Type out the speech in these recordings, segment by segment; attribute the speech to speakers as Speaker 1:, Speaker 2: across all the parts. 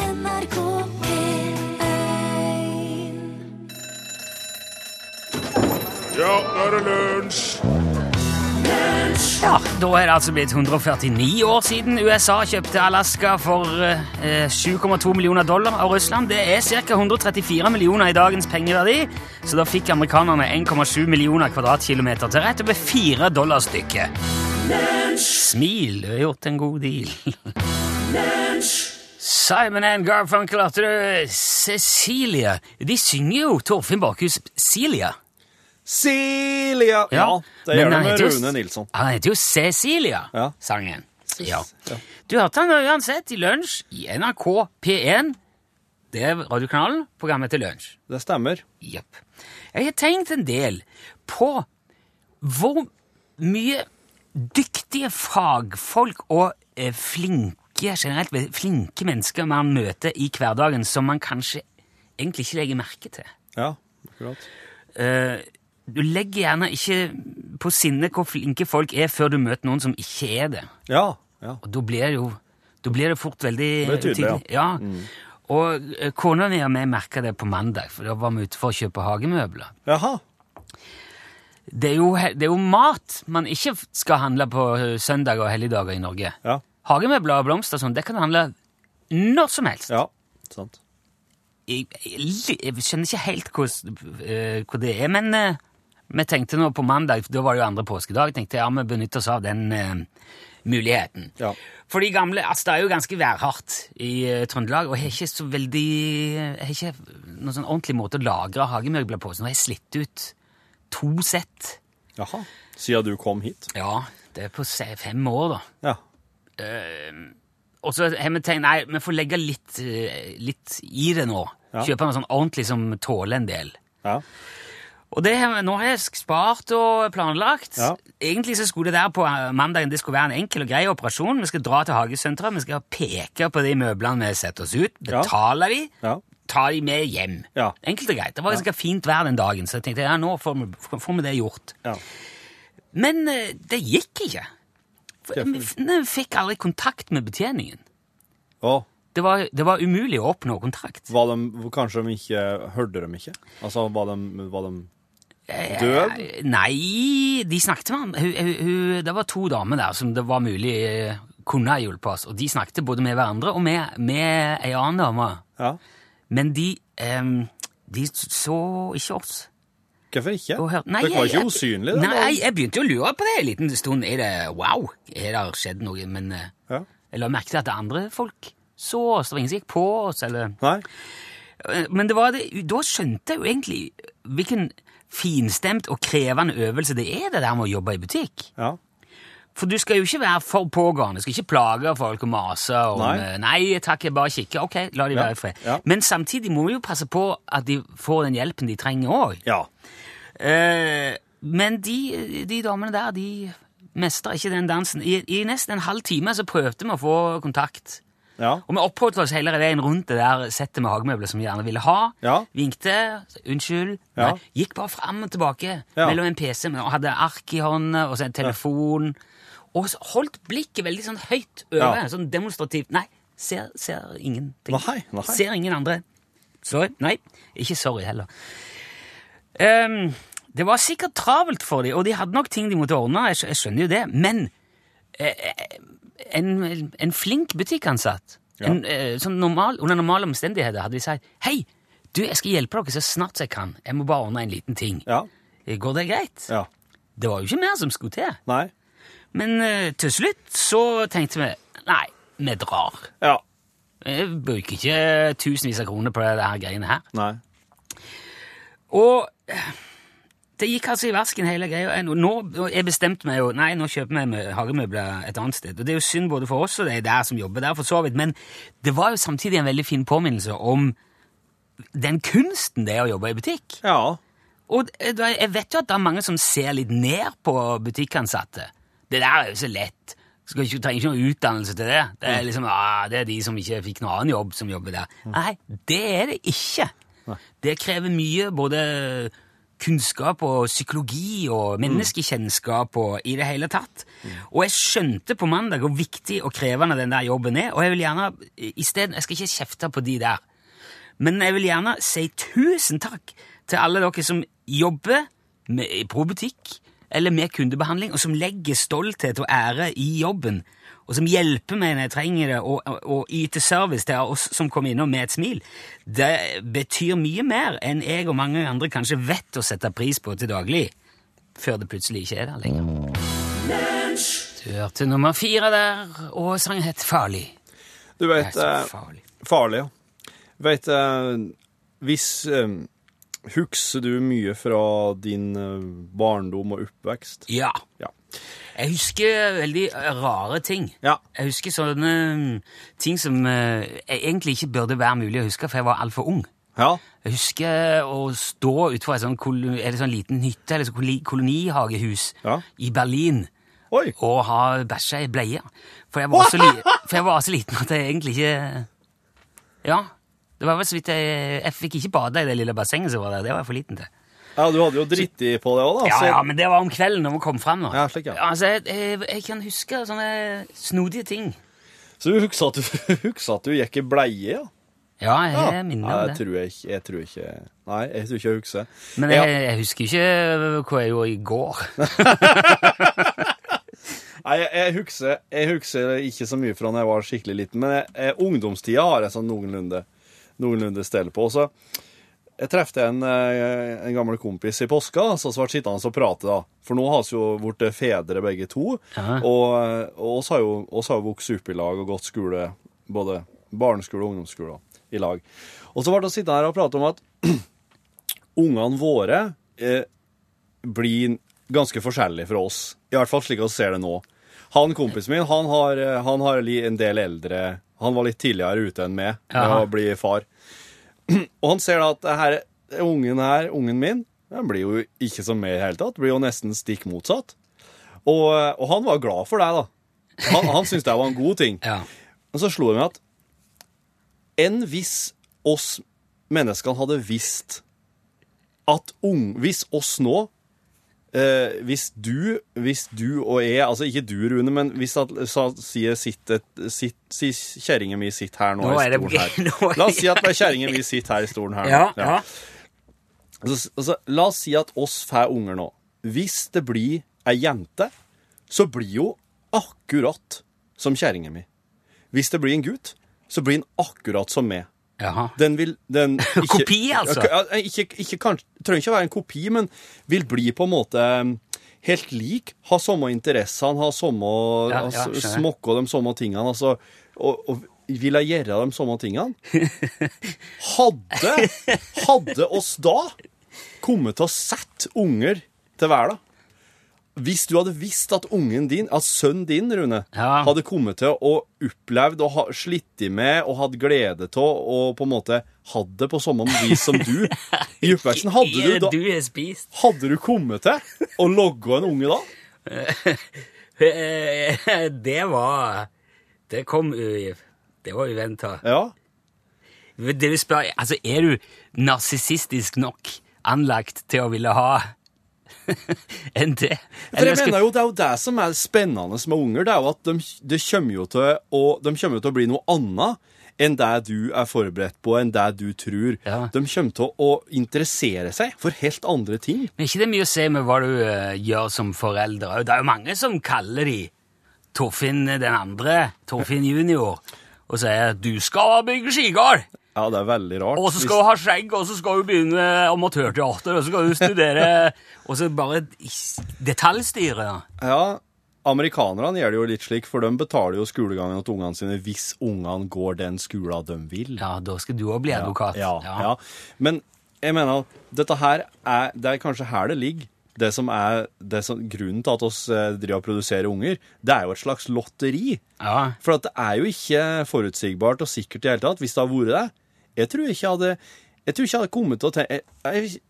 Speaker 1: NRK P1
Speaker 2: Ja, nå er det lunsj!
Speaker 3: Ja, Da er det altså blitt 149 år siden USA kjøpte Alaska for eh, 7,2 millioner dollar av Russland. Det er ca. 134 millioner i dagens pengeverdi, så da fikk amerikanerne 1,7 millioner kvadratkilometer til rett over fire dollar stykket. Smil, du har gjort en god deal. Simon and Garfunkel, hørte du? Cecilia. De synger jo Torfinn Bakhus Celia.
Speaker 4: Silja! Ja, det
Speaker 3: men
Speaker 4: gjør det
Speaker 3: han
Speaker 4: med
Speaker 3: heter jo-
Speaker 4: Rune Nilsson.
Speaker 3: Han heter jo Cecilia,
Speaker 4: Ja.
Speaker 3: sangen. Ja.
Speaker 4: Ja.
Speaker 3: Du hørte han uansett i lunsj i NRK P1. Det er radiokanalen, programmet til lunsj.
Speaker 4: Det stemmer.
Speaker 3: Jepp. Jeg har tenkt en del på hvor mye dyktige fagfolk og eh, flinke, generelt flinke mennesker man møter i hverdagen som man kanskje egentlig ikke legger merke til.
Speaker 4: Ja, akkurat.
Speaker 3: Eh, du legger gjerne ikke på sinne hvor flinke folk er før du møter noen som ikke er det.
Speaker 4: Ja, ja.
Speaker 3: Og da blir det jo da blir det fort veldig
Speaker 4: Det blir tydelig, ja. Mm.
Speaker 3: Ja. Og eh, kona mi og jeg merka det på mandag, for da var vi ute for å kjøpe hagemøbler.
Speaker 4: Jaha.
Speaker 3: Det er jo, he- det er jo mat man ikke f- skal handle på eh, søndager og helligdager i Norge.
Speaker 4: Ja.
Speaker 3: Hagemøbler og blomster og sånn, det kan du handle når som helst.
Speaker 4: ja. Sant.
Speaker 3: jeg, jeg, li- jeg skjønner ikke helt hvor, eh, hvor det er, men eh, vi tenkte nå på mandag, for da var det jo andre påskedag, tenkte jeg, ja, vi benytter oss av den eh, muligheten.
Speaker 4: Ja.
Speaker 3: For de gamle, altså det er jo ganske værhardt i eh, Trøndelag, og jeg har ikke så veldig, jeg har ikke noen sånn ordentlig måte å lagre hagemøbler på, så nå har jeg slitt ut to sett.
Speaker 4: Jaha. Siden du kom hit.
Speaker 3: Ja, det er på se- fem år da.
Speaker 4: Ja.
Speaker 3: Og så har vi tenkt, nei, vi får legge litt, eh, litt i det nå.
Speaker 4: Ja.
Speaker 3: Kjøpe noe sånn ordentlig som tåler en del.
Speaker 4: Ja.
Speaker 3: Og det, har- nå har jeg spart og planlagt.
Speaker 4: Ja.
Speaker 3: Egentlig så skulle det der på eh, mandagen det skulle være en enkel og grei operasjon. Vi skal dra til hagesenteret, vi skal peke på de møblene vi setter oss ut,
Speaker 4: Ja.
Speaker 3: betaler de,
Speaker 4: Ja.
Speaker 3: tar de med hjem.
Speaker 4: Ja.
Speaker 3: Enkelt og greit. Det var ganske fint vær den dagen, så jeg tenkte ja, nå får vi, får vi det gjort.
Speaker 4: Ja.
Speaker 3: Men eh, det gikk ikke. For, vi
Speaker 4: Hvorfor?
Speaker 3: f- vi fikk aldri kontakt med betjeningen.
Speaker 4: Og
Speaker 3: Det var, det var umulig å oppnå kontakt.
Speaker 4: var de, kanskje de ikke hørte dem ikke? Altså, var de, var de døv?
Speaker 3: Eh, Nei, de snakket med han. Hun, hun, hun, det var to damer der som det var mulig eh, kunne ha hjulpet oss, og de snakket både med hverandre og med, med ei annen dame.
Speaker 4: Ja.
Speaker 3: Men de, em, de så ikke oss.
Speaker 4: Hvorfor ikke?
Speaker 3: Og hørte-
Speaker 4: Dere var
Speaker 3: jeg-
Speaker 4: ikke usynlige? det
Speaker 3: Nei,
Speaker 4: var-
Speaker 3: jeg, jeg begynte jo å lure på det en liten stund. Er det wow? Er det skjedd noe? Men eh,
Speaker 4: Ja.
Speaker 3: jeg la merke til at andre folk så oss. Det var ingen som gikk på oss, eller
Speaker 4: Nei?
Speaker 3: Eh, Men det var det, da skjønte jeg jo egentlig hvilken finstemt og krevende øvelse det er det der med å jobbe i butikk.
Speaker 4: Ja.
Speaker 3: For du skal jo ikke være for pågående, du skal ikke plage folk og mase om
Speaker 4: Nei.
Speaker 3: eh, nei takk, jeg bare kikker. Ok, la de
Speaker 4: Ja,
Speaker 3: være i fred.
Speaker 4: ja.
Speaker 3: Men samtidig må vi jo passe på at de får den hjelpen de trenger òg.
Speaker 4: Ja.
Speaker 3: men de, de damene der, de mestrer ikke den dansen. I, I nesten en halv time så prøvde vi å få kontakt.
Speaker 4: Ja.
Speaker 3: Og vi oppholdt oss hele veien rundt det der settet med hagemøbler som vi gjerne ville ha.
Speaker 4: Ja.
Speaker 3: Vinkte, unnskyld.
Speaker 4: Ja.
Speaker 3: Nei, gikk bare fram og tilbake
Speaker 4: Ja.
Speaker 3: mellom en PC med, og hadde ark i hånda og så en telefon. Og så holdt blikket veldig sånn høyt over,
Speaker 4: Ja.
Speaker 3: sånn demonstrativt. Nei, ser, ser ingenting.
Speaker 4: Nei, nei.
Speaker 3: Ser ingen andre. Sorry. Nei, ikke sorry heller. Ehm, det var sikkert travelt for dem, og de hadde nok ting de måtte ordne. Jeg, skj- jeg skjønner jo det, men eh, en, en flink butikkansatt
Speaker 4: Ja.
Speaker 3: en, eh, sånn normal, Under normale omstendigheter hadde de sagt Hei, du, jeg skal hjelpe dere så snart jeg kan. Jeg må bare ordne en liten ting. Eh,
Speaker 4: Ja.
Speaker 3: Går det greit?
Speaker 4: Ja.
Speaker 3: Det var jo ikke mer som skulle til.
Speaker 4: Nei?
Speaker 3: Men eh, til slutt så tenkte vi Nei, vi drar.
Speaker 4: Ja.
Speaker 3: Jeg bruker ikke tusenvis av kroner på det her greiene her.
Speaker 4: Nei.
Speaker 3: Og det gikk altså i vasken hele greia. Og Nå og jeg bestemte meg jo Nei, nå kjøper vi hagemøbler et annet sted. Og det er jo synd både for oss og de der som jobber der, for så vidt. Men det var jo samtidig en veldig fin påminnelse om den kunsten det er å jobbe i butikk.
Speaker 4: Ja.
Speaker 3: Og eh, da- jeg vet jo at det er mange som ser litt ned på butikkansatte. Det der er jo så lett. Skal ikke, trenger ikke noe utdannelse til det. Det er liksom, ah, det er de som ikke fikk noen annen jobb, som jobber der. Nei, det er det ikke. Det krever mye både kunnskap og psykologi og menneskekjennskap og i det hele tatt. Og jeg skjønte på mandag hvor viktig og krevende den der jobben er, og jeg vil gjerne i stedet, Jeg skal ikke kjefte på de der, men jeg vil gjerne si tusen takk til alle dere som jobber med, i probutikk eller med kundebehandling, og som legger stolthet og ære i jobben, og som hjelper meg når jeg trenger det, og, og, og yter service til oss som kommer innom med et smil. Det betyr mye mer enn jeg og mange andre kanskje vet å sette pris på til daglig, før det plutselig ikke er der lenger. Du hørte nummer fire der, og sangen het Farlig.
Speaker 4: Du
Speaker 3: Det er
Speaker 4: vet
Speaker 3: så
Speaker 4: eh,
Speaker 3: farlig.
Speaker 4: Farlig, ja. Vet eh, Hvis eh, Husker du mye fra din eh, barndom og oppvekst?
Speaker 3: Ja.
Speaker 4: Ja.
Speaker 3: Jeg husker veldig eh, rare ting.
Speaker 4: Ja.
Speaker 3: Jeg husker sånne mm, ting som eh, jeg egentlig ikke burde være mulig å huske, for jeg var altfor ung.
Speaker 4: Ja.
Speaker 3: Jeg husker eh, å stå utenfor en sånn, kol er det sånn liten hytte, eller sånn koli- kolonihagehus,
Speaker 4: Ja.
Speaker 3: i Berlin,
Speaker 4: Oi!
Speaker 3: og ha bæsja i bleia. For jeg, var så li for jeg var så liten at jeg egentlig ikke Ja. Det var vel så vidt jeg Jeg fikk ikke bade i det lille bassenget som var der. Det var jeg for liten til.
Speaker 4: Ja, du hadde jo dritti på det òg, da.
Speaker 3: Ja,
Speaker 4: så-
Speaker 3: ja, men det var om kvelden når vi kom fram. da.
Speaker 4: Altså- Ja, slik, ja.
Speaker 3: Altså, jeg, jeg, jeg kan huske sånne snodige ting.
Speaker 4: Så du husker at du, husker at du gikk i bleie, ja?
Speaker 3: Ja, jeg
Speaker 4: Ja.
Speaker 3: minner
Speaker 4: Nei,
Speaker 3: om
Speaker 4: jeg
Speaker 3: det.
Speaker 4: tror jeg ikke jeg tror ikke, Nei, jeg tror ikke jeg husker.
Speaker 3: Men
Speaker 4: Ja.
Speaker 3: jeg, jeg husker ikke hva jeg gjorde i går.
Speaker 4: Nei, jeg, jeg, husker, jeg husker ikke så mye fra da jeg var skikkelig liten, men jeg, jeg, ungdomstida har jeg sånn noenlunde, noenlunde stell på. Og Så jeg trefte en, eh, en gammel kompis i påska, så vi ble sittende og prate, da. For nå har vi jo blitt fedre begge to,
Speaker 3: Ja.
Speaker 4: og eh, og oss har jo, oss har jo vokst opp i lag og gått skole, både barneskole og ungdomsskole, da, i lag. Og så ble vi sittende her og prate om at ungene våre eh, blir ganske forskjellig fra oss. I hvert fall slik vi ser det nå. Han kompisen min, han har, eh, han har li- en del eldre Han var litt tidligere ute enn meg med
Speaker 3: Jaha.
Speaker 4: å bli far. Og han ser da at det her, ungen her, ungen min, den blir jo ikke som meg i det hele tatt. Blir jo nesten stikk motsatt. Og, og han var glad for det, da. Han, han syntes det var en god ting.
Speaker 3: Ja.
Speaker 4: Men så slo det meg at enn hvis oss menneskene hadde visst at ung, hvis oss nå eh, hvis, du, hvis du og jeg, altså ikke du Rune, men hvis at, sa, sier sitt, et, sitt, si kjerringa mi sitt her nå,
Speaker 3: Nå
Speaker 4: i
Speaker 3: er det- nå
Speaker 4: stolen
Speaker 3: er-
Speaker 4: her. La oss si at kjerringa mi sitter her i stolen her. nå.
Speaker 3: Ja, ja.
Speaker 4: Altså, altså, la oss si at oss får unger nå. Hvis det blir ei jente, så blir jo akkurat som kjerringa mi. Hvis det blir en gutt, så blir han akkurat som meg.
Speaker 3: Jaha.
Speaker 4: Den vil den ikke,
Speaker 3: Kopi, altså?
Speaker 4: Ja, k- ja, Ikke, ikke, kanskje, trenger ikke å være en kopi, men vil bli på en måte um, helt lik. Ha samme interessene, ha samme
Speaker 3: Ja, ja,
Speaker 4: altså,
Speaker 3: skjønner.
Speaker 4: Smokke de samme tingene. Altså, og, og vil jeg gjøre de samme tingene? Hadde Hadde oss da kommet til å sette unger til verden? Hvis du hadde visst at ungen din, at sønnen din, Rune,
Speaker 3: Ja.
Speaker 4: hadde kommet til å opplevd og ha- slitt i med og hatt glede av og på en måte hatt det på samme vis som du i oppveksten, hadde du, da,
Speaker 3: Du har spist.
Speaker 4: hadde du kommet til å logge en unge da?
Speaker 3: Eh, Det var Det kom u- Det var uventa.
Speaker 4: Ja.
Speaker 3: Det du spør, altså, er du narsissistisk nok anlagt til å ville ha enn det?
Speaker 4: For jeg
Speaker 3: skal-
Speaker 4: mener jo, Det er jo det som er spennende med unger, det er jo at de, de, kommer, jo til, å, de kommer jo til å bli noe annet enn det du er forberedt på, enn det du tror.
Speaker 3: Ja.
Speaker 4: De kommer til å interessere seg for helt andre ting.
Speaker 3: Men er ikke det mye å si med hva du eh, gjør som forelder? òg? Det er jo mange som kaller de Torfinn den andre, Torfinn junior, og sier 'du skal bygge skigard',
Speaker 4: Ja, det er veldig rart.
Speaker 3: og så skal du ha skjegg, og så skal du begynne amatørteater, og så skal du studere Og så bare detaljstyre. da.
Speaker 4: Ja, amerikanerne gjør det jo litt slik, for de betaler jo skolegangen til ungene sine hvis ungene går den skolen de vil.
Speaker 3: Ja, da skal du òg bli advokat.
Speaker 4: Ja, ja. Men jeg mener, dette her er, det er kanskje her det ligger. Det som er, det som, grunnen til at oss eh, driver og produserer unger, det er jo et slags lotteri.
Speaker 3: Ja.
Speaker 4: For at det er jo ikke forutsigbart og sikkert i det hele tatt, hvis det hadde vært det. Jeg tror ikke jeg hadde, jeg tror ikke jeg hadde kommet til å tenke jeg, jeg,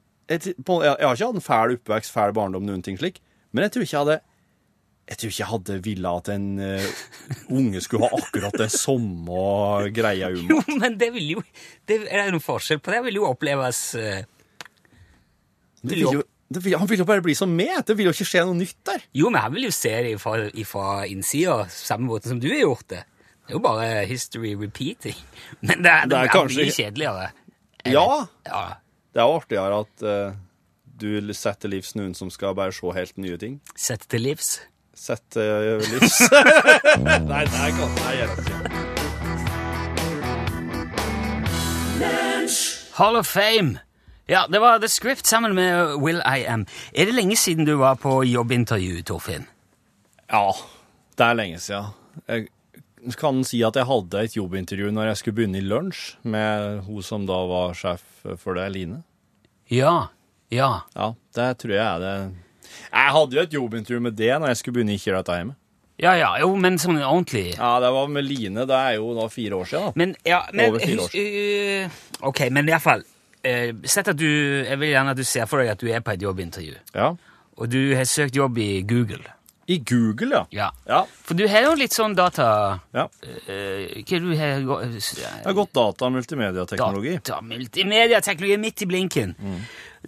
Speaker 4: jeg, på, jeg, jeg har ikke hatt en fæl oppvekst, fæl barndom, noen ting slik, men jeg tror ikke jeg hadde jeg tror ikke jeg hadde villet at en eh, unge skulle ha akkurat det samme greia om.
Speaker 3: Jo, men det vil jo det, Er det noen forskjell på det? Det vil jo oppleves eh,
Speaker 4: Det vil jo, det vil, han vil jo bare bli som meg. Det vil jo ikke skje noe nytt der.
Speaker 1: Jo, men han vil jo se det fra, innsida, samme måten som du har gjort det. Det er jo bare history repeating. Men det, er-
Speaker 4: Det er
Speaker 1: det
Speaker 4: kanskje-
Speaker 1: blir kjedeligere.
Speaker 4: Ja,
Speaker 1: Ja,
Speaker 4: det er jo artigere at eh, du setter til livs noen som skal bare se helt nye ting.
Speaker 1: Sett til livs.
Speaker 4: Sette uh, livs Nei, det er godt. Nei, jeg vet ikke.
Speaker 3: Hall of Fame. Ja, det var The Script sammen med Will I Am. Er det lenge siden du var på jobbintervju, Torfinn?
Speaker 4: Ja, det er lenge siden. Jeg kan si at jeg hadde et jobbintervju når jeg skulle begynne i lunsj med hun som da var sjef for det, Line.
Speaker 3: Ja. Ja.
Speaker 4: Ja, det tror jeg er det. Jeg hadde jo et jobbintervju med det når jeg skulle begynne i Ikke dette hjemme.
Speaker 3: Ja, ja, jo, men sånn ordentlig.
Speaker 4: Ja, det var med Line. Det er jo da fire år siden, da.
Speaker 3: Men, ja, men
Speaker 4: Over fire år
Speaker 3: husk, øh, Ok, men i hvert fall eh, Sett at du Jeg vil gjerne at du ser for deg at du er på et jobbintervju.
Speaker 4: Ja.
Speaker 3: Og du har søkt jobb i Google.
Speaker 4: I Google, ja.
Speaker 3: Ja.
Speaker 4: Ja.
Speaker 3: For du har jo litt sånn data...
Speaker 4: ja.
Speaker 3: øh, hva er det du har gå- eh,
Speaker 4: Det er godt data- og multimediateknologi.
Speaker 3: Data, multimediateknologi midt i blinken.
Speaker 4: Mm.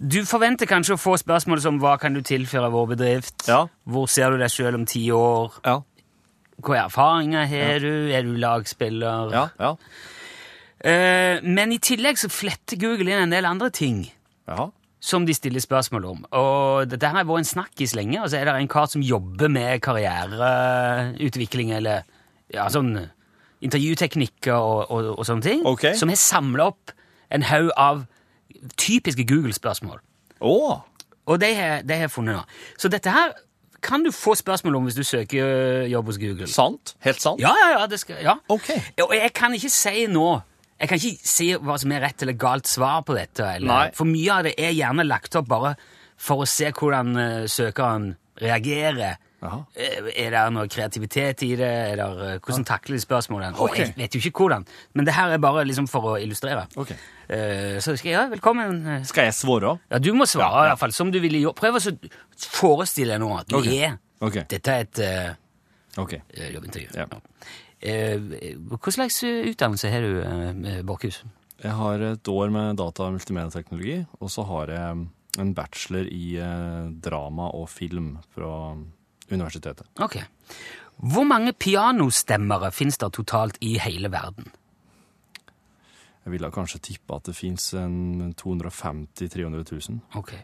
Speaker 3: Du forventer kanskje å få spørsmål som hva kan du tilføre vår bedrift?
Speaker 4: Ja.
Speaker 3: Hvor ser du deg selv om ti år?
Speaker 4: Ja.
Speaker 3: Hvilke erfaringer har du? Er du lagspiller?
Speaker 4: Ja. Ja.
Speaker 3: Eh, men i tillegg så fletter Google inn en del andre ting
Speaker 4: ja.
Speaker 3: som de stiller spørsmål om. Og dette har vært en snakkis lenge, og så er det en kar som jobber med karriereutvikling eller ja, sånn intervjuteknikker og, og, og sånne ting,
Speaker 4: Ok.
Speaker 3: som har samla opp en haug av typiske Google-spørsmål.
Speaker 4: Å!
Speaker 3: Og de har de har funnet nå. Så dette her kan du få spørsmål om hvis du søker ø, jobb hos Google.
Speaker 4: Sant. Helt sant.
Speaker 3: Ja, ja, ja, det skal, ja.
Speaker 4: Ok.
Speaker 3: Og jeg kan ikke si nå Jeg kan ikke si hva som er rett eller galt svar på dette. Eller,
Speaker 4: Nei.
Speaker 3: For mye av det er gjerne lagt opp bare for å se hvordan eh, søkeren reagerer.
Speaker 4: Jaha.
Speaker 3: Eh, Er det noe kreativitet i det? Er det eh, hvordan takler de spørsmålene? Og
Speaker 4: Ok.
Speaker 3: jeg vet jo ikke hvordan, men det her er bare liksom for å illustrere.
Speaker 4: Ok.
Speaker 3: Eh, Så skal jeg ja, velkommen. eh,
Speaker 4: Skal jeg svare?
Speaker 3: ja, du må svare i hvert fall som du ville gjort. Prøv å så forestille deg nå at du
Speaker 4: Ok.
Speaker 3: er
Speaker 4: Ok.
Speaker 3: Dette er et eh,
Speaker 4: OK.
Speaker 3: eh, jobbintervju.
Speaker 4: Ja.
Speaker 3: Eh, hva slags eh, utdannelse har du, eh, Borkhus?
Speaker 4: Jeg har et år med data- og multimediateknologi, og så har jeg um, en bachelor i eh, drama og film fra universitetet.
Speaker 3: Ok. Hvor mange pianostemmere finnes det totalt i hele verden?
Speaker 4: Jeg ville kanskje tippe at det fins 250 000-300 000.
Speaker 3: Ok.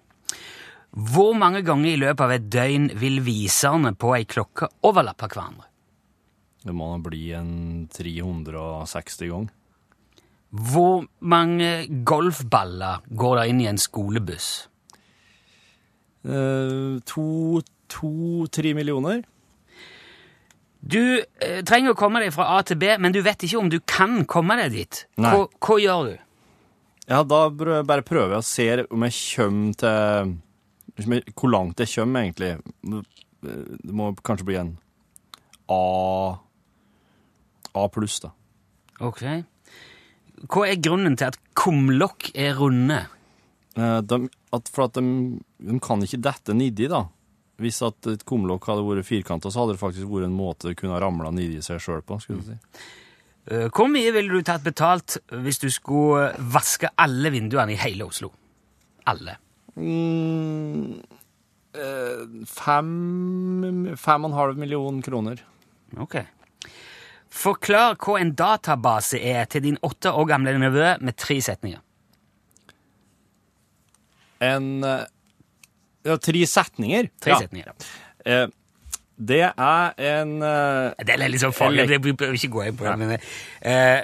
Speaker 3: Hvor mange ganger i løpet av et døgn vil viserne på ei klokke overlappe hverandre?
Speaker 4: Det må da bli en 360 ganger.
Speaker 3: Hvor mange golfballer går det inn i en skolebuss?
Speaker 4: Eh, to, to, tre millioner.
Speaker 3: Du eh, trenger å komme deg fra A til B, men du vet ikke om du kan komme deg dit.
Speaker 4: Nei.
Speaker 3: Hva, hva gjør du?
Speaker 4: Ja, da br- bare prøver jeg å se om jeg kommer til liksom, Hvor langt jeg kommer, egentlig. Det må kanskje bli en A A pluss, da.
Speaker 3: Ok. Hva er grunnen til at kumlokk er runde?
Speaker 4: Eh, De, at, for at de, de kan ikke dette nedi, da. Hvis at et kumlokk hadde vært firkanta, så hadde det faktisk vært en måte det kunne ha ramla nedi seg sjøl på. skulle du si.
Speaker 3: Eh, Hvor mye ville du tatt betalt hvis du skulle vaske alle vinduene i hele Oslo? Alle.
Speaker 4: Fem, fem og en halv million kroner.
Speaker 3: Ok. Forklar hva en database er til din åtte år gamle nevø med tre setninger.
Speaker 4: En eh, Ja, tre setninger.
Speaker 3: Tre
Speaker 4: Ja.
Speaker 3: setninger.
Speaker 4: Eh, det er en eh,
Speaker 3: Det er litt sånn farlig,
Speaker 4: Elekt-
Speaker 3: det bør vi ikke gå inn på. det, Men, eh,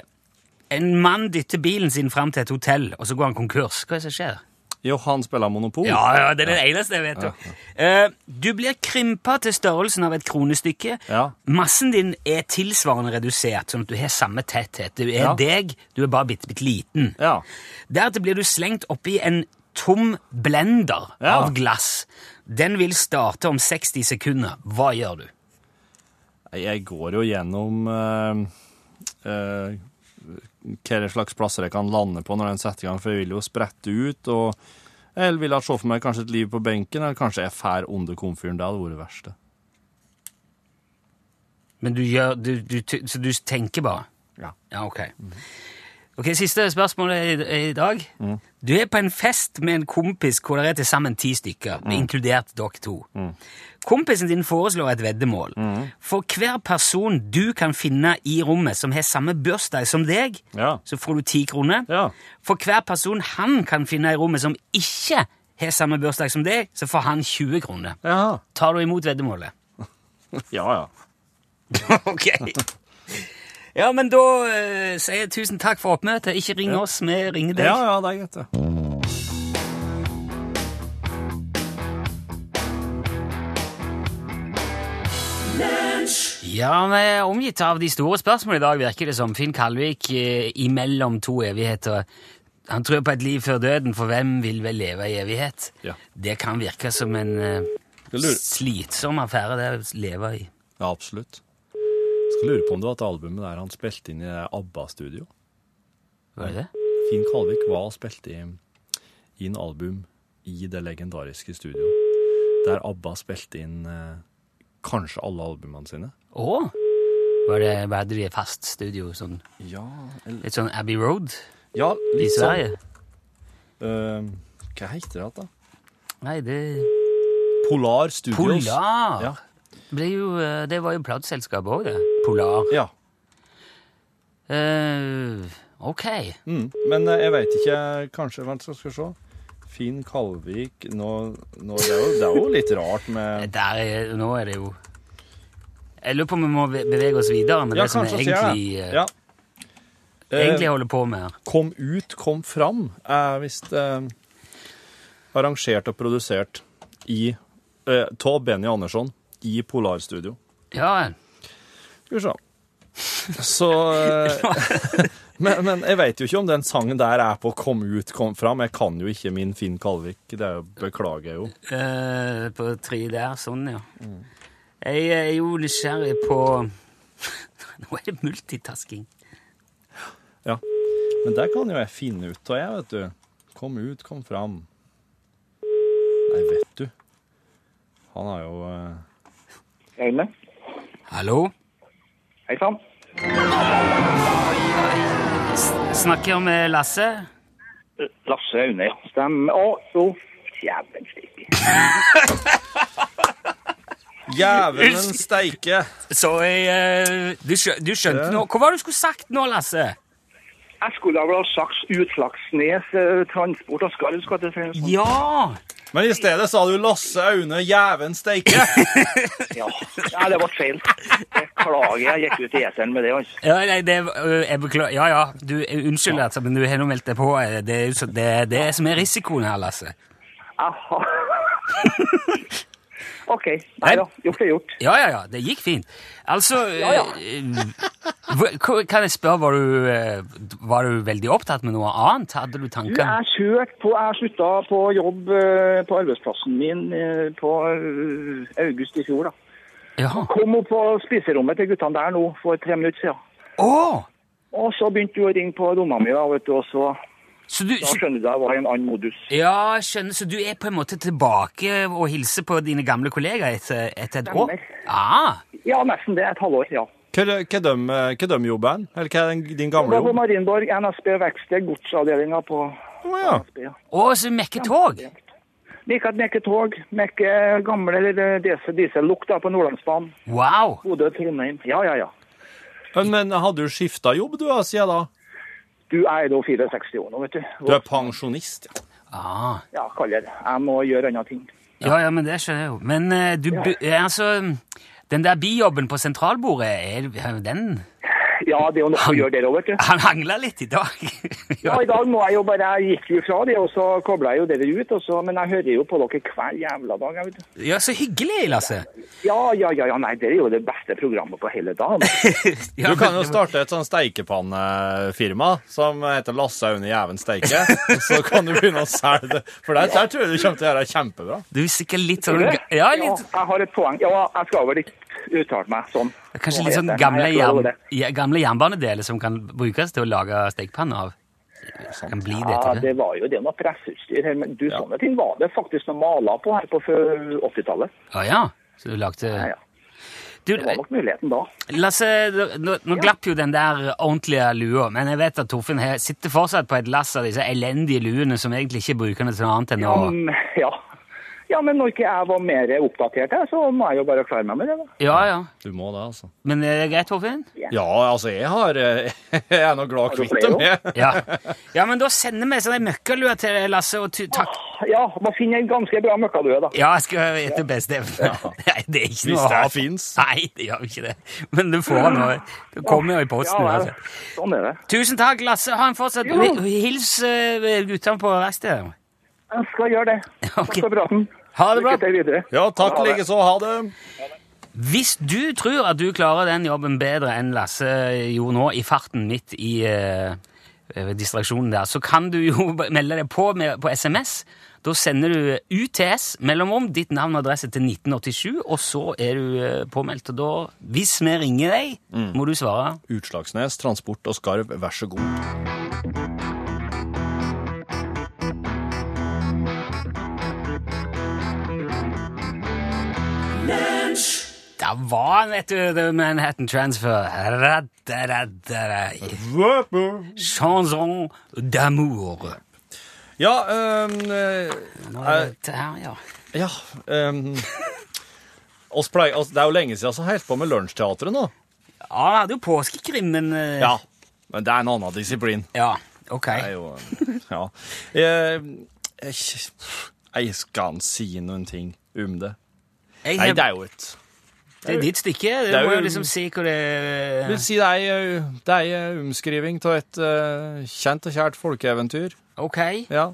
Speaker 3: en mann dytter bilen sin fram til et hotell, og så går han konkurs. Hva er det som skjer?
Speaker 4: Jo, han spiller Monopol.
Speaker 3: Ja, ja, det er det eneste jeg vet. jo. Eh, du blir krympa til størrelsen av et kronestykke.
Speaker 4: Ja.
Speaker 3: Massen din er tilsvarende redusert, sånn at du har samme tetthet. Du er
Speaker 4: Ja.
Speaker 3: deg, du er bare bitte, bitte liten.
Speaker 4: Ja.
Speaker 3: Deretter blir du slengt oppi en tom blender
Speaker 4: Ja.
Speaker 3: av glass. Den vil starte om 60 sekunder. Hva gjør du?
Speaker 4: Jeg går jo gjennom eh, eh, hva slags plasser jeg kan lande på når den setter i gang, for jeg vil jo sprette ut. og jeg vil ha se for meg kanskje et liv på benken, eller kanskje jeg fær under komfyren. Det hadde vært det verste.
Speaker 3: Men du gjør, du, du, ty- så du tenker bare?
Speaker 4: Ja. Mm.
Speaker 3: Ja, ok. Ok, Siste spørsmål i, i dag. Du er på en fest med en kompis hvor det er til sammen ti stykker,
Speaker 4: Mm.
Speaker 3: inkludert dere to. Kompisen din foreslår et veddemål.
Speaker 4: Mm.
Speaker 3: For hver person du kan finne i rommet som har samme bursdag som deg,
Speaker 4: Ja.
Speaker 3: så får du ti kroner.
Speaker 4: Ja.
Speaker 3: For hver person han kan finne i rommet som ikke har samme bursdag som deg, så får han 20 kroner.
Speaker 4: Ja,
Speaker 3: Tar du imot veddemålet?
Speaker 4: ja. ja.
Speaker 3: ok. Ja, men da eh, sier jeg tusen takk for oppmøtet. Ikke ring oss, vi ringer deg.
Speaker 4: Ja, ja, det er greit, det.
Speaker 5: Ja, vi er omgitt av de store spørsmålene i dag, virker det som. Finn Kalvik eh, imellom to evigheter. Han tror på et liv før døden, for hvem vil vel leve i evighet?
Speaker 4: Ja.
Speaker 5: Det kan virke som en eh,
Speaker 4: Skal lure.
Speaker 5: slitsom affære det å leve i.
Speaker 4: Ja, absolutt. Skal lure på om det var et albumet der han spilte inn i det ABBA-studio.
Speaker 5: Var det det?
Speaker 4: Finn Kalvik var og spilte i- inn album i det legendariske studio, der ABBA spilte inn eh, kanskje alle albumene sine.
Speaker 5: Å! Var det, var det de fast studio? Sånn,
Speaker 4: Ja,
Speaker 5: litt sånn Abbey Road i
Speaker 4: litt sånn.
Speaker 5: Sverige?
Speaker 4: Eh, hva heter det igjen, da?
Speaker 5: Nei, det
Speaker 4: Polar Studios.
Speaker 5: Polar!
Speaker 4: Ja.
Speaker 5: Ble jo, eh, det var jo plateselskapet òg, det. Polar.
Speaker 4: ja.
Speaker 5: Eh, ok.
Speaker 4: Mm. Men eh, jeg veit ikke Kanskje Vent, så skal vi se. Finn Kalvik nå, nå, det, er jo, det er jo litt rart med
Speaker 5: Der er, nå er det jo Jeg lurer på om vi må ve- bevege oss videre med
Speaker 4: Ja,
Speaker 5: det som vi
Speaker 4: kanskje sier
Speaker 5: egentlig,
Speaker 4: jeg det.
Speaker 5: eh,
Speaker 4: Ja.
Speaker 5: egentlig
Speaker 4: Eh,
Speaker 5: holder på med. her.
Speaker 4: Kom ut, kom fram er visst eh, arrangert og produsert i eh, av Benny Andersson i Polar Studio.
Speaker 5: Ja,
Speaker 4: Skal vi se. Så eh, men, men jeg veit jo ikke om den sangen der er på Kom ut, kom fram. Jeg kan jo ikke min Finn Kalvik. Det er jo- beklager jeg jo.
Speaker 5: eh, på tre der. Sånn, ja.
Speaker 4: Mm.
Speaker 5: Jeg er jo nysgjerrig på Nå er det multitasking.
Speaker 4: Ja. Men der kan jo jeg finne ut av, jeg, vet du. Kom ut, kom fram. Nei, vet du. Han har jo eh,
Speaker 6: Øyne.
Speaker 3: Hallo?
Speaker 6: Hei sann.
Speaker 5: Snakker jeg med Lasse?
Speaker 6: Lasse Aune, ja. Stemmer. Å, jo. Jævlen stikke.
Speaker 4: Jævelen steike!
Speaker 3: Så jeg eh, Du, skjø, du skjønte
Speaker 4: Ja.
Speaker 3: nå Hva var det du skulle sagt nå, Lasse?
Speaker 6: Jeg skulle ha vel ha sagt Utslagsnes eh, Transport og Skarv, skal det sies. sånn.
Speaker 3: Ja!
Speaker 4: Men i stedet sa du Lasse Aune Jæven steike.
Speaker 6: Ja. Nei, det ble feil. Beklager, jeg gikk ut i eteren med det. altså.
Speaker 3: Ja, nei, det, øh, jeg beklager. Ja, ja. Du, eh, unnskyld, altså, men du har nå meldt deg på. Eh, Det er jo så- det, det er som er risikoen her, Lasse.
Speaker 6: Aha. OK. Nei da. Gjort er gjort.
Speaker 3: Ja, ja, ja. Det gikk fint. Altså
Speaker 6: ja.
Speaker 3: eh, hva- hva- Kan jeg spørre, var du, eh, var du veldig opptatt med noe annet? Hadde du
Speaker 6: Du,
Speaker 3: tanker?
Speaker 6: jeg kjørte på Jeg slutta på jobb eh, på arbeidsplassen min eh, på eh, august i fjor, da.
Speaker 3: Ja.
Speaker 6: Kom opp på spiserommet til guttene der nå for tre minutter siden.
Speaker 3: Å!
Speaker 6: Og så begynte du å ringe på dama mi, da, vet du, og så
Speaker 3: Så du,
Speaker 6: da
Speaker 3: så,
Speaker 6: skjønner du at jeg var i en annen modus.
Speaker 3: ja, skjønner. Så du er på en måte tilbake og hilser på dine gamle kollegaer etter, etter et år? Ah,
Speaker 6: Stemmer.
Speaker 3: Ja.
Speaker 6: Ja, nesten det. Et halvår, ja.
Speaker 4: Hva hva de, hva de jobber hen? Eller hva er den- din
Speaker 6: Det
Speaker 4: gamle
Speaker 6: var på
Speaker 4: jobb?
Speaker 6: Marienborg, NSB Verksted, godsavdelinga på
Speaker 4: Å, ja.
Speaker 6: NSB. ja.
Speaker 3: Å, så du mekker tog?
Speaker 6: Liker at mekke tog, mekke gamle eller eh, diesel- diesellukt da, på Nordlandsbanen.
Speaker 3: Wow.
Speaker 6: Bodø, Trondheim. Ja, ja, ja.
Speaker 4: Men, men hadde du skifta jobb du da, siden da?
Speaker 6: Du jeg er da 64 år nå, vet du.
Speaker 4: Du er pensjonist. ja.
Speaker 3: Ah.
Speaker 6: Ja, kaller det. Jeg må gjøre andre ting.
Speaker 3: Ja, ja, men det skjønner jeg jo. Men eh, du, bu- eh, altså Den der bijobben på sentralbordet, er den
Speaker 6: Ja, det er jo noe å gjøre der òg, vet du.
Speaker 3: Han hangla litt i dag.
Speaker 6: Ja,
Speaker 3: ja.
Speaker 6: i dag må jeg jo bare, jeg gikk jo fra det, og så koblet jeg jo dere ut, og så, men jeg hører jo på dere hver jævla dag, jeg vet du.
Speaker 3: ja, så hyggelig, Lasse.
Speaker 6: Ja, ja, ja, ja, nei, det er jo det beste programmet på hele dagen.
Speaker 3: Ja,
Speaker 4: Du kan jo
Speaker 3: men-
Speaker 4: starte et sånn steikepannefirma som heter Lasse Aune Jæven Steike. Så kan du begynne å selge det. For der, der tror jeg du kommer til å gjøre det kjempebra.
Speaker 3: Du er sikkert litt
Speaker 6: Tror
Speaker 3: sånn
Speaker 6: du?
Speaker 3: Ja, litt,
Speaker 6: Ja, jeg har et poeng. Ja, jeg skal vel ikke uttale meg sånn.
Speaker 3: kanskje
Speaker 6: Hva
Speaker 3: litt sånn
Speaker 6: heter det?
Speaker 3: gamle,
Speaker 6: Nei, jeg tror
Speaker 3: jern,
Speaker 6: det var det.
Speaker 3: ja, gamle jernbanedeler som kan brukes til å lage stekepanner av. Kan bli det
Speaker 6: Sånn. Ja,
Speaker 3: til det.
Speaker 6: det var jo det med presseutstyr her, men du, sånne ting var det faktisk noen maler på her på før 80-tallet.
Speaker 3: Å ja. Så du lagde
Speaker 6: Ja, ja.
Speaker 3: Du, eh,
Speaker 6: Det var nok muligheten da.
Speaker 3: Lasse, nå, nå glapp jo den der ordentlige lua, men jeg vet at Torfinn her sitter fortsatt på et lass av disse elendige luene som egentlig ikke bruker det til noe annet enn å
Speaker 6: Mm, ja. ja, men når ikke jeg var mer oppdatert, jeg, så må jeg jo bare klare meg med det. da.
Speaker 3: Ja, ja.
Speaker 4: Du må det, altså.
Speaker 3: Men er det greit, Torfinn?
Speaker 4: Ja, altså, jeg har eh, Jeg er nå glad
Speaker 6: du
Speaker 4: kvitt
Speaker 6: flere
Speaker 4: dem, jeg.
Speaker 6: også?
Speaker 3: Ja. ja, men da sender vi sånne møkkalua til deg, Lasse, og tu- takk.
Speaker 6: Ja, man finner en ganske bra møkkadue, da.
Speaker 3: Ja, jeg skal etter beste evne. Nei, det er ikke
Speaker 4: Hvis
Speaker 3: noe å
Speaker 4: det
Speaker 3: ha
Speaker 4: her
Speaker 3: på.
Speaker 4: fins.
Speaker 3: Nei, det gjør jo ikke det. Men du får noe. Det kommer jo i posten.
Speaker 6: Ja,
Speaker 3: altså.
Speaker 6: vel. sånn er det.
Speaker 3: Tusen takk, Lasse. Ha en fortsatt
Speaker 6: Jo.
Speaker 3: Hils eh, guttene på verkstedet.
Speaker 6: Jeg skal gjøre det. Takk
Speaker 3: Ok.
Speaker 6: for praten.
Speaker 3: Ha det bra.
Speaker 6: Lykke til videre.
Speaker 4: Ja, takk
Speaker 6: Ha det.
Speaker 4: likeså. Ha det.
Speaker 3: Hvis du tror at du klarer den jobben bedre enn Lasse gjorde nå, i farten midt i eh, eh, distraksjonen der, så kan du jo bare melde deg på med, på SMS. Da sender du UTS mellomrom, ditt navn og adresse til 1987, og så er du eh, påmeldt. Og da, hvis vi ringer deg,
Speaker 4: Mm.
Speaker 3: må du svare.
Speaker 4: Utslagsnes, Transport og Skarv, vær så god.
Speaker 3: Det var han, vet du, The Manhattan Transfer. Ra-da-ra-da-ra. Chanson d'amour.
Speaker 4: Ja, øhm, eh,
Speaker 3: Nå er det her, ja.
Speaker 4: ja øhm, oss pleier, oss, Det er jo lenge siden vi har holdt på med Lunsjteatret nå.
Speaker 3: Ja, han hadde jo påskekrim, men eh,
Speaker 4: Ja, men det er en annen disiplin.
Speaker 3: ja. Ok.
Speaker 4: Det er jo Ja. Jeg, jeg, jeg skal ikke si noen ting om det.
Speaker 3: Jeg,
Speaker 4: Nei, det er jo et
Speaker 3: Det er ditt stykke. Du
Speaker 4: Det er
Speaker 3: må
Speaker 4: jo-
Speaker 3: jo liksom si hvor
Speaker 4: Jeg vil
Speaker 3: det
Speaker 4: si det er, eh, det er en omskriving av et eh, kjent og kjært folkeeventyr.
Speaker 3: Ok.
Speaker 4: Ja.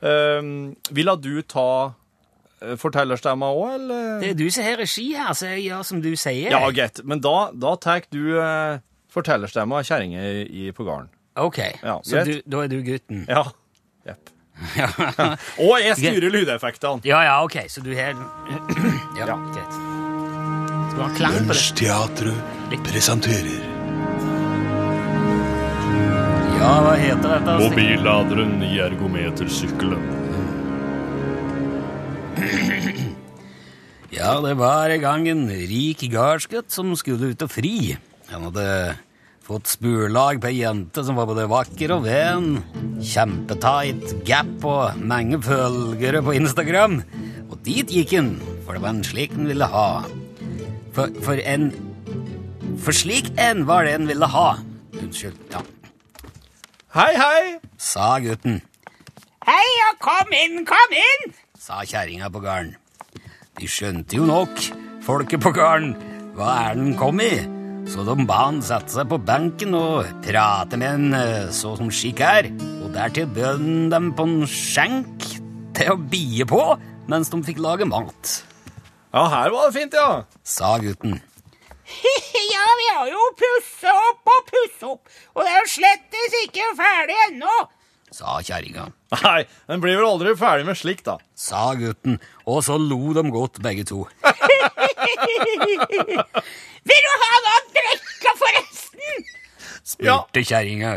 Speaker 4: Um, ville du ta eh, fortellerstemma òg, eller?
Speaker 3: Det er du som har regi her, så jeg gjør som du sier.
Speaker 4: Ja, greit. Men da, da tar du eh, fortellerstemma av kjerringa i- i- på gården.
Speaker 3: Ok,
Speaker 4: Ja,
Speaker 3: så
Speaker 4: greit.
Speaker 3: du, da er du gutten.
Speaker 4: Ja. Jepp. Og jeg styrer lydeffektene!
Speaker 3: Ja, ja, ok, så du har Ja, greit. Skal du ha klang på det?
Speaker 7: Lunsjteatret presenterer
Speaker 3: Ja, hva heter dette? Stig?
Speaker 8: Mobilladeren i ergometersykkelen.
Speaker 3: Ja, det var en gang en rik gardsgutt som skulle ut og fri. Han hadde fått spurlag på ei jente som var både vakker og ven. Kjempetight gap og mange følgere på Instagram. Og dit gikk han, for det var en slik han ville ha. For, for en For slik en var det en ville ha. Unnskyld, ja.
Speaker 4: Hei, hei!
Speaker 3: Sa gutten. Hei, og kom inn, kom inn! Sa kjerringa på gården. De skjønte jo nok, folket på gården, hva er den kom i? Så de ba han sette seg på benken og prate med en eh, så som skikk er, og dertil bød han dem på en skjenk til å bie på mens de fikk lage mat,
Speaker 4: Ja, her var det fint, ja.
Speaker 3: sa gutten.
Speaker 9: Ja, vi har jo pussa opp og pussa opp, og det er jo slettes ikke ferdig ennå.
Speaker 3: Sa kjerringa.
Speaker 4: Nei, den blir vel aldri ferdig med slikt, da.
Speaker 3: Sa gutten, og så lo de godt begge to.
Speaker 9: Vil du ha noe å drikke, forresten?
Speaker 4: Ja,
Speaker 3: Spurte kjerringa,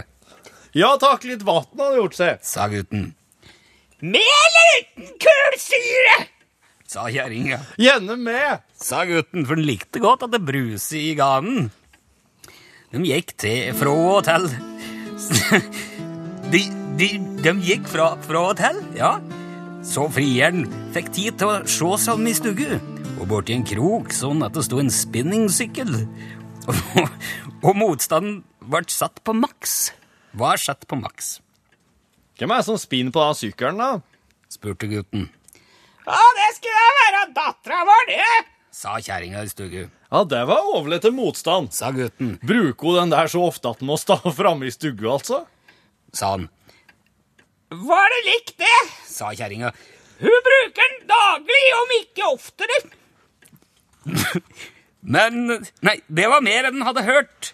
Speaker 4: ja takk, litt vann hadde gjort seg.
Speaker 3: sa gutten.
Speaker 9: Med eller uten kullsyre?
Speaker 3: Sa kjerringa.
Speaker 4: Gjerne med.
Speaker 3: sa gutten, for han likte godt at det bruste i ganen. De gikk til fra og til. De, de, de gikk fra, fra og til, ja. Så frieren fikk tid til å se seg om i stugge, og borti en krok sånn at det sto en spinningsykkel. Og, og motstanden ble satt på maks. Var satt på maks,
Speaker 4: Hvem er det som spinner på den sykkelen, da?
Speaker 3: spurte gutten.
Speaker 9: Ja, det skulle da være dattera vår, det.
Speaker 3: Sa kjerringa i stugge,
Speaker 4: Ja, det var overlett til motstand.
Speaker 3: sa gutten.
Speaker 4: Bruker hun den der så ofte at den må stå framme i stugga, altså?
Speaker 3: Sa han,
Speaker 9: Var det likt det?
Speaker 3: sa kjerringa.
Speaker 9: Hun bruker den daglig, om ikke oftere.
Speaker 3: Men Nei, det var mer enn han hadde hørt.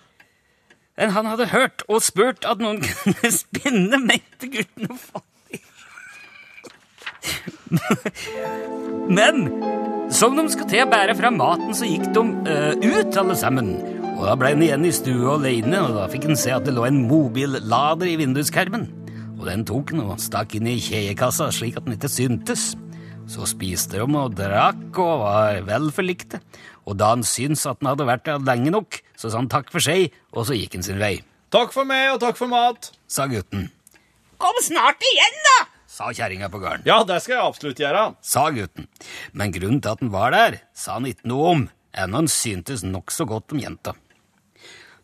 Speaker 3: Enn han hadde hørt og spurt at noen kunne spinne, mente gutten og fattig. Men som de skulle til å bære fram maten, så gikk de eh, ut alle sammen. Og da ble han igjen i stua alene, og da fikk han se at det lå en mobillader i vinduskarmen. Og den tok han og stakk inn i kjedekassa slik at den ikke syntes. Så spiste de og drakk og var vel forlikte. og da han syntes at han hadde vært der lenge nok, så sa han takk for seg, og så gikk han sin vei,
Speaker 4: Takk for meg, og takk for mat.
Speaker 3: sa gutten.
Speaker 7: Kom snart igjen, da!
Speaker 3: Sa kjerringa på gården.
Speaker 4: Ja, det skal jeg absolutt gjøre.
Speaker 3: sa gutten. Men grunnen til at han var der, sa han ikke noe om, enda han syntes nokså godt om jenta.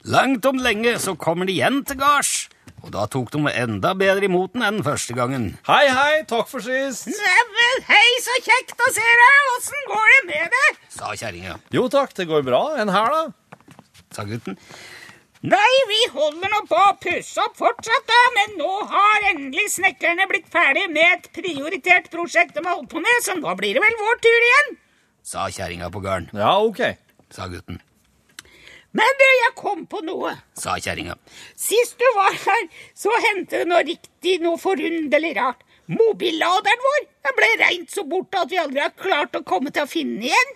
Speaker 3: Langt om lenge så kommer de igjen til gards, og da tok de enda bedre imot den enn første gangen.
Speaker 4: Hei, hei, takk for sist.
Speaker 7: Neimen, hei, så kjekt å se deg! Åssen går det med deg?
Speaker 3: Sa kjerringa,
Speaker 4: Jo takk, det går bra. En her, da?
Speaker 3: sa gutten.
Speaker 7: Nei, vi holder nå på å pusse opp fortsatt, da, men nå har endelig snekkerne blitt ferdig med et prioritert prosjekt de har holdt på med, så nå blir det vel vår tur igjen.
Speaker 3: Sa kjerringa på gården,
Speaker 4: Ja, OK.
Speaker 3: sa gutten.
Speaker 7: Men du, jeg kom på noe.
Speaker 3: Sa kjerringa.
Speaker 7: Sist du var her, så hendte det noe riktig, noe forunderlig rart. Mobilladeren vår den ble reint så borte at vi aldri har klart å komme til å finne den igjen.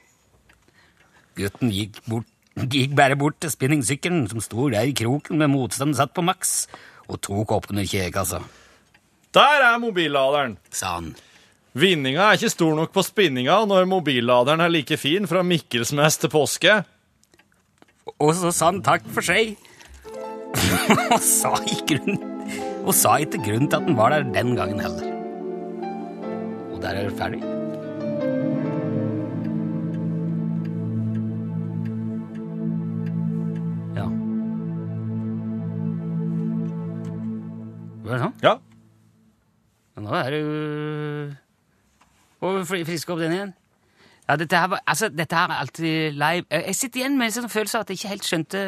Speaker 3: Gutten gikk, bort, gikk bare bort til spinningsykkelen som sto der i kroken med motstand satt på maks, og tok opp under kjekassa,
Speaker 4: Der er mobilladeren.
Speaker 3: sa han.
Speaker 4: Vinninga er ikke stor nok på spinninga når mobilladeren er like fin fra Mikkelsmes til påske.
Speaker 3: Og så sa han takk for seg. og sa i grunn Og sa ikke grunnen til at han var der den gangen heller. Og der er det ferdig. Ja. Var det sånn?
Speaker 4: Ja.
Speaker 3: Men nå er du Og fri- friske opp den igjen. Ja, dette her, var, altså, dette her er alltid live. Eh, Jeg sitter igjen med en sånn følelse av at jeg ikke helt skjønte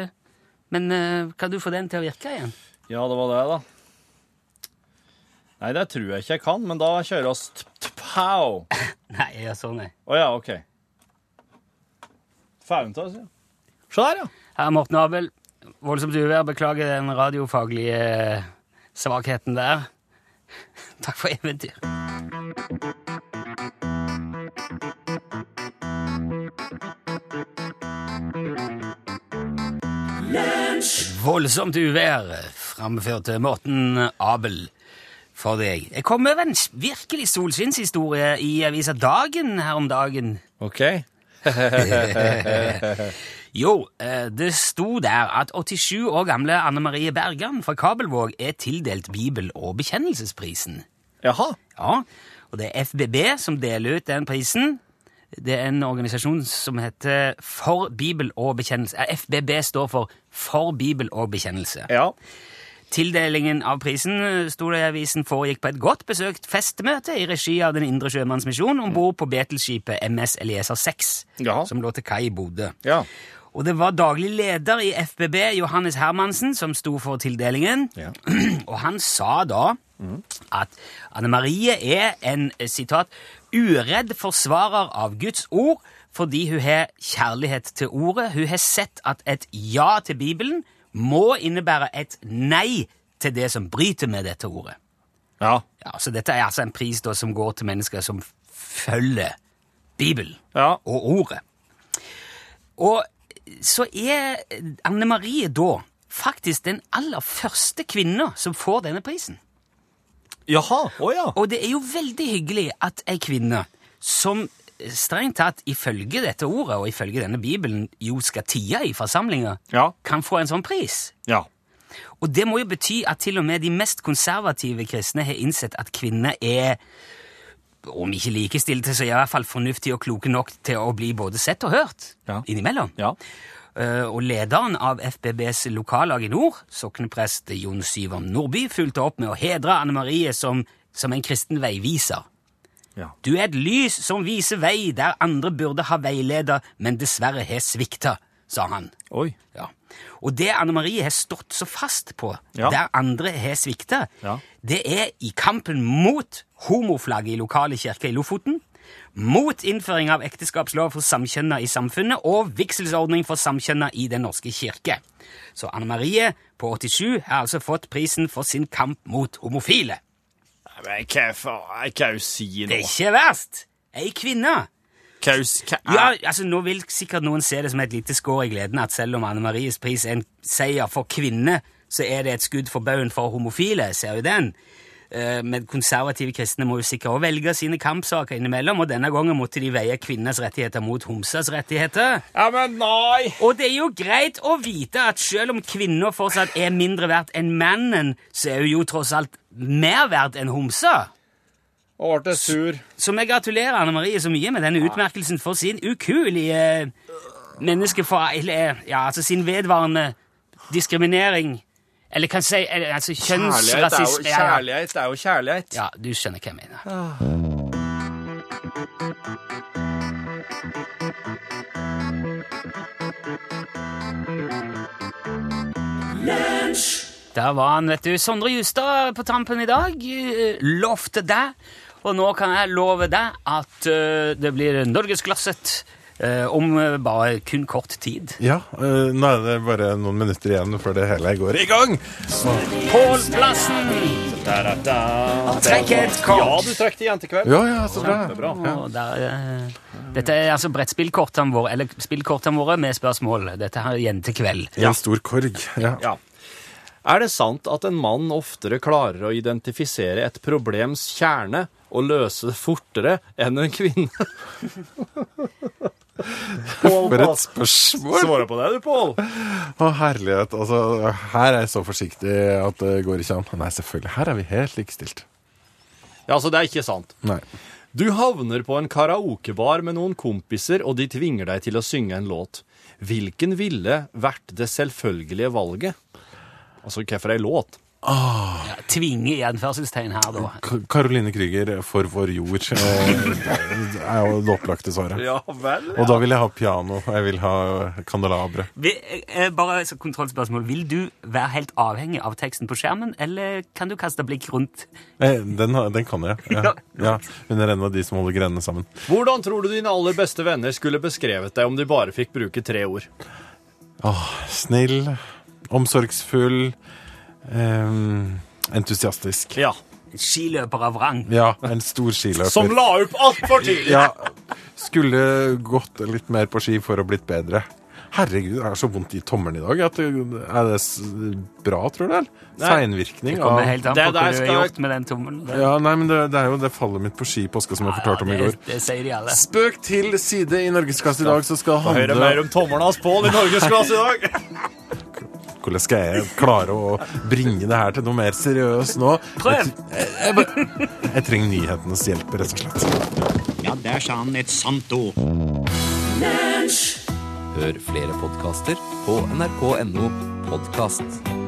Speaker 3: Men eh, kan du få den til å virke igjen?
Speaker 4: Ja, det var det, da. Nei, det tror jeg ikke jeg kan, men da kjører oss t-pow. Å
Speaker 3: Nei, ja, sånn er
Speaker 4: ja, OK. Fælen til oss, ja. Se der, ja.
Speaker 3: Her er Morten Abel. Voldsomt uvær. Beklager den radiofaglige eh, svakheten der. Takk for eventyr. Voldsomt uvær framførte Morten Abel for deg. Jeg kom over en virkelig solskinnshistorie i avisa Dagen her om dagen.
Speaker 4: OK.
Speaker 3: Jo, eh, det sto der at 87 år gamle Anne Marie Bergan fra Kabelvåg er tildelt Bibel- og bekjennelsesprisen.
Speaker 4: Jaha.
Speaker 3: Ja, og det er FBB som deler ut den prisen. Det er en organisasjon som heter For Bibel og bekjennelse. Eh, FBB står for For Bibel og bekjennelse.
Speaker 4: Ja.
Speaker 3: Tildelingen av prisen, eh, sto det i avisen, foregikk på et godt besøkt festmøte i regi av Den indre sjømannsmisjon om bord på Betelskipet MS Elieser 6,
Speaker 4: Jaha.
Speaker 3: som lå til kai i Bodø.
Speaker 4: Ja.
Speaker 3: Og det var daglig leder i FBB, Johannes Hermansen, som sto for tildelingen.
Speaker 4: Ja.
Speaker 3: Og han sa da at Anne Marie er en eh, sitat, uredd forsvarer av Guds ord fordi hun har kjærlighet til ordet. Hun har sett at et ja til Bibelen må innebære et nei til det som bryter med dette ordet.
Speaker 4: Ja.
Speaker 3: Ja, så dette er altså en pris da, som går til mennesker som følger Bibelen
Speaker 4: Ja.
Speaker 3: og ordet. Og så er Anne Marie da faktisk den aller første kvinna som får denne prisen.
Speaker 4: Jaha. Å ja.
Speaker 3: Og det er jo veldig hyggelig at ei kvinne som strengt tatt ifølge dette ordet og ifølge denne bibelen jo skal tie i forsamlinga,
Speaker 4: Ja.
Speaker 3: kan få en sånn pris.
Speaker 4: Ja.
Speaker 3: Og det må jo bety at til og med de mest konservative kristne har innsett at kvinner er om ikke likestilte, så i hvert fall fornuftige og kloke nok til å bli både sett og hørt
Speaker 4: Ja.
Speaker 3: innimellom.
Speaker 4: Ja.
Speaker 3: Eh, og lederen av FBBs lokallag i nord, sokneprest Jon Syvam Nordby, fulgte opp med å hedre Anne Marie som, som en kristen veiviser.
Speaker 4: Ja.
Speaker 3: Du er et lys som viser vei der andre burde ha veileder, men dessverre har svikta, sa han.
Speaker 4: Oi.
Speaker 3: Ja. Og det Anne Marie har stått så fast på,
Speaker 4: Ja.
Speaker 3: der andre har svikta,
Speaker 4: Ja.
Speaker 3: det er i kampen mot homoflagget i lokale kirker i Lofoten, mot innføring av ekteskapslov for samkjønna i samfunnet og vigselsordning for samkjønna i Den norske kirke. Så Anne Marie på 87 har altså fått prisen for sin kamp mot homofile.
Speaker 4: Men hva faen? Jeg kan jo si
Speaker 3: Det er
Speaker 4: noe.
Speaker 3: ikke verst! Ei kvinne!
Speaker 4: Hva er jo s- hva
Speaker 3: Ja,
Speaker 4: er-
Speaker 3: altså Nå vil sikkert noen se det som et lite skår i gleden at selv om Anne Maries pris er en seier for kvinner, så er det et skudd for baugen for homofile, ser jo den. Eh, Men konservative kristne må jo sikkert også velge sine kampsaker innimellom, og denne gangen måtte de veie kvinners rettigheter mot homsers rettigheter.
Speaker 4: Ja, men nei!
Speaker 3: Og det er jo greit å vite at selv om kvinner fortsatt er mindre verdt enn mannen, så er hun jo tross alt mer verdt enn homser.
Speaker 4: Og ble jeg sur.
Speaker 3: Så vi gratulerer Anne Marie så mye med denne utmerkelsen for sin ukuelige menneskefor... Eller, ja, altså sin vedvarende diskriminering. Eller kan jeg si eller, altså
Speaker 4: Kjærlighet er,
Speaker 3: kjønnsrasisme.
Speaker 4: jo, kjærlighet er jo kjærlighet.
Speaker 3: Ja, du skjønner hva jeg mener. Der var han, vet du. Sondre Justad på tampen i dag. eh, Lovte deg. Og nå kan jeg love deg at eh, det blir Norgesglasset eh, om eh, bare kun kort tid.
Speaker 8: Ja, eh, nå er det bare noen minutter igjen før det hele går i gang.
Speaker 3: Pål Plassen trekker et
Speaker 4: Ja,
Speaker 3: kort.
Speaker 4: du trakk det igjen til kveld.
Speaker 8: Ja, ja, så bra. Ja.
Speaker 3: Og der, eh, dette er altså brettspillkortene våre, eller spillkortene våre med spørsmål. Dette her er igjen til kveld.
Speaker 8: En stor korg. Ja.
Speaker 4: Ja. Er det sant at en mann oftere klarer å identifisere et problems kjerne og løse det fortere enn en kvinne? Pål,
Speaker 8: For
Speaker 4: Pål.
Speaker 8: et spørsmål!
Speaker 4: Svare på det, du, Pål.
Speaker 8: Å, herlighet. Altså, her er jeg så forsiktig at det går ikke an. Nei, selvfølgelig. Her er vi helt likestilt.
Speaker 4: Ja, altså, det er ikke sant.
Speaker 8: Nei.
Speaker 4: Du havner på en karaokebar med noen kompiser, og de tvinger deg til å synge en låt. Hvilken ville vært det selvfølgelige valget? Altså, hvorfor ei låt?
Speaker 3: Tvinge i anførselstegn her, da.
Speaker 8: K- Caroline Krüger, 'For vår jord', eh, er jo det opplagte svaret.
Speaker 4: Ja vel.
Speaker 8: Og da vil jeg ha piano. Jeg vil ha kandelabre.
Speaker 3: Vi, eh, bare et kontrollspørsmål. Vil du være helt avhengig av teksten på skjermen, eller kan du kaste blikk rundt?
Speaker 8: Eh, Den, har- den kan jeg. Ja. Ja. Hun er en av de som holder grenene sammen.
Speaker 4: Hvordan tror du dine aller beste venner skulle beskrevet deg om de bare fikk bruke tre ord?
Speaker 8: Snill, omsorgsfull, em, entusiastisk.
Speaker 4: Ja.
Speaker 3: Skiløper av rang.
Speaker 8: Ja, en stor skiløper.
Speaker 4: Som la opp altfor tidlig!
Speaker 8: Ja, skulle gått litt mer på ski for å blitt bedre. Herregud, det er så vondt i tommelen i dag. At det, er det s- bra, tror du? eller?
Speaker 4: Nei.
Speaker 8: Seinvirkning
Speaker 3: Det kommer
Speaker 8: av
Speaker 3: helt an på
Speaker 4: Det
Speaker 3: hva du
Speaker 4: der
Speaker 3: har
Speaker 4: skal-
Speaker 3: gjort med den tommelen. Det-
Speaker 8: Ja, nei, men det, det er jo det fallet mitt på skipåska som jeg fortalte om i går.
Speaker 3: det, det sier de alle.
Speaker 8: Spøk til side i Norgesklasse i dag, så skal
Speaker 4: Høyre
Speaker 8: handle
Speaker 4: mer om tommelen hans Pål i Norgesklasse i dag.
Speaker 8: Hvordan skal jeg klare å bringe det her til noe mer seriøst nå?
Speaker 3: Prøv!
Speaker 8: Jeg trenger nyhetenes hjelp, rett og slett.
Speaker 10: Ja, der sa han et sant ord.
Speaker 11: Hør flere podkaster på nrk.no podkast.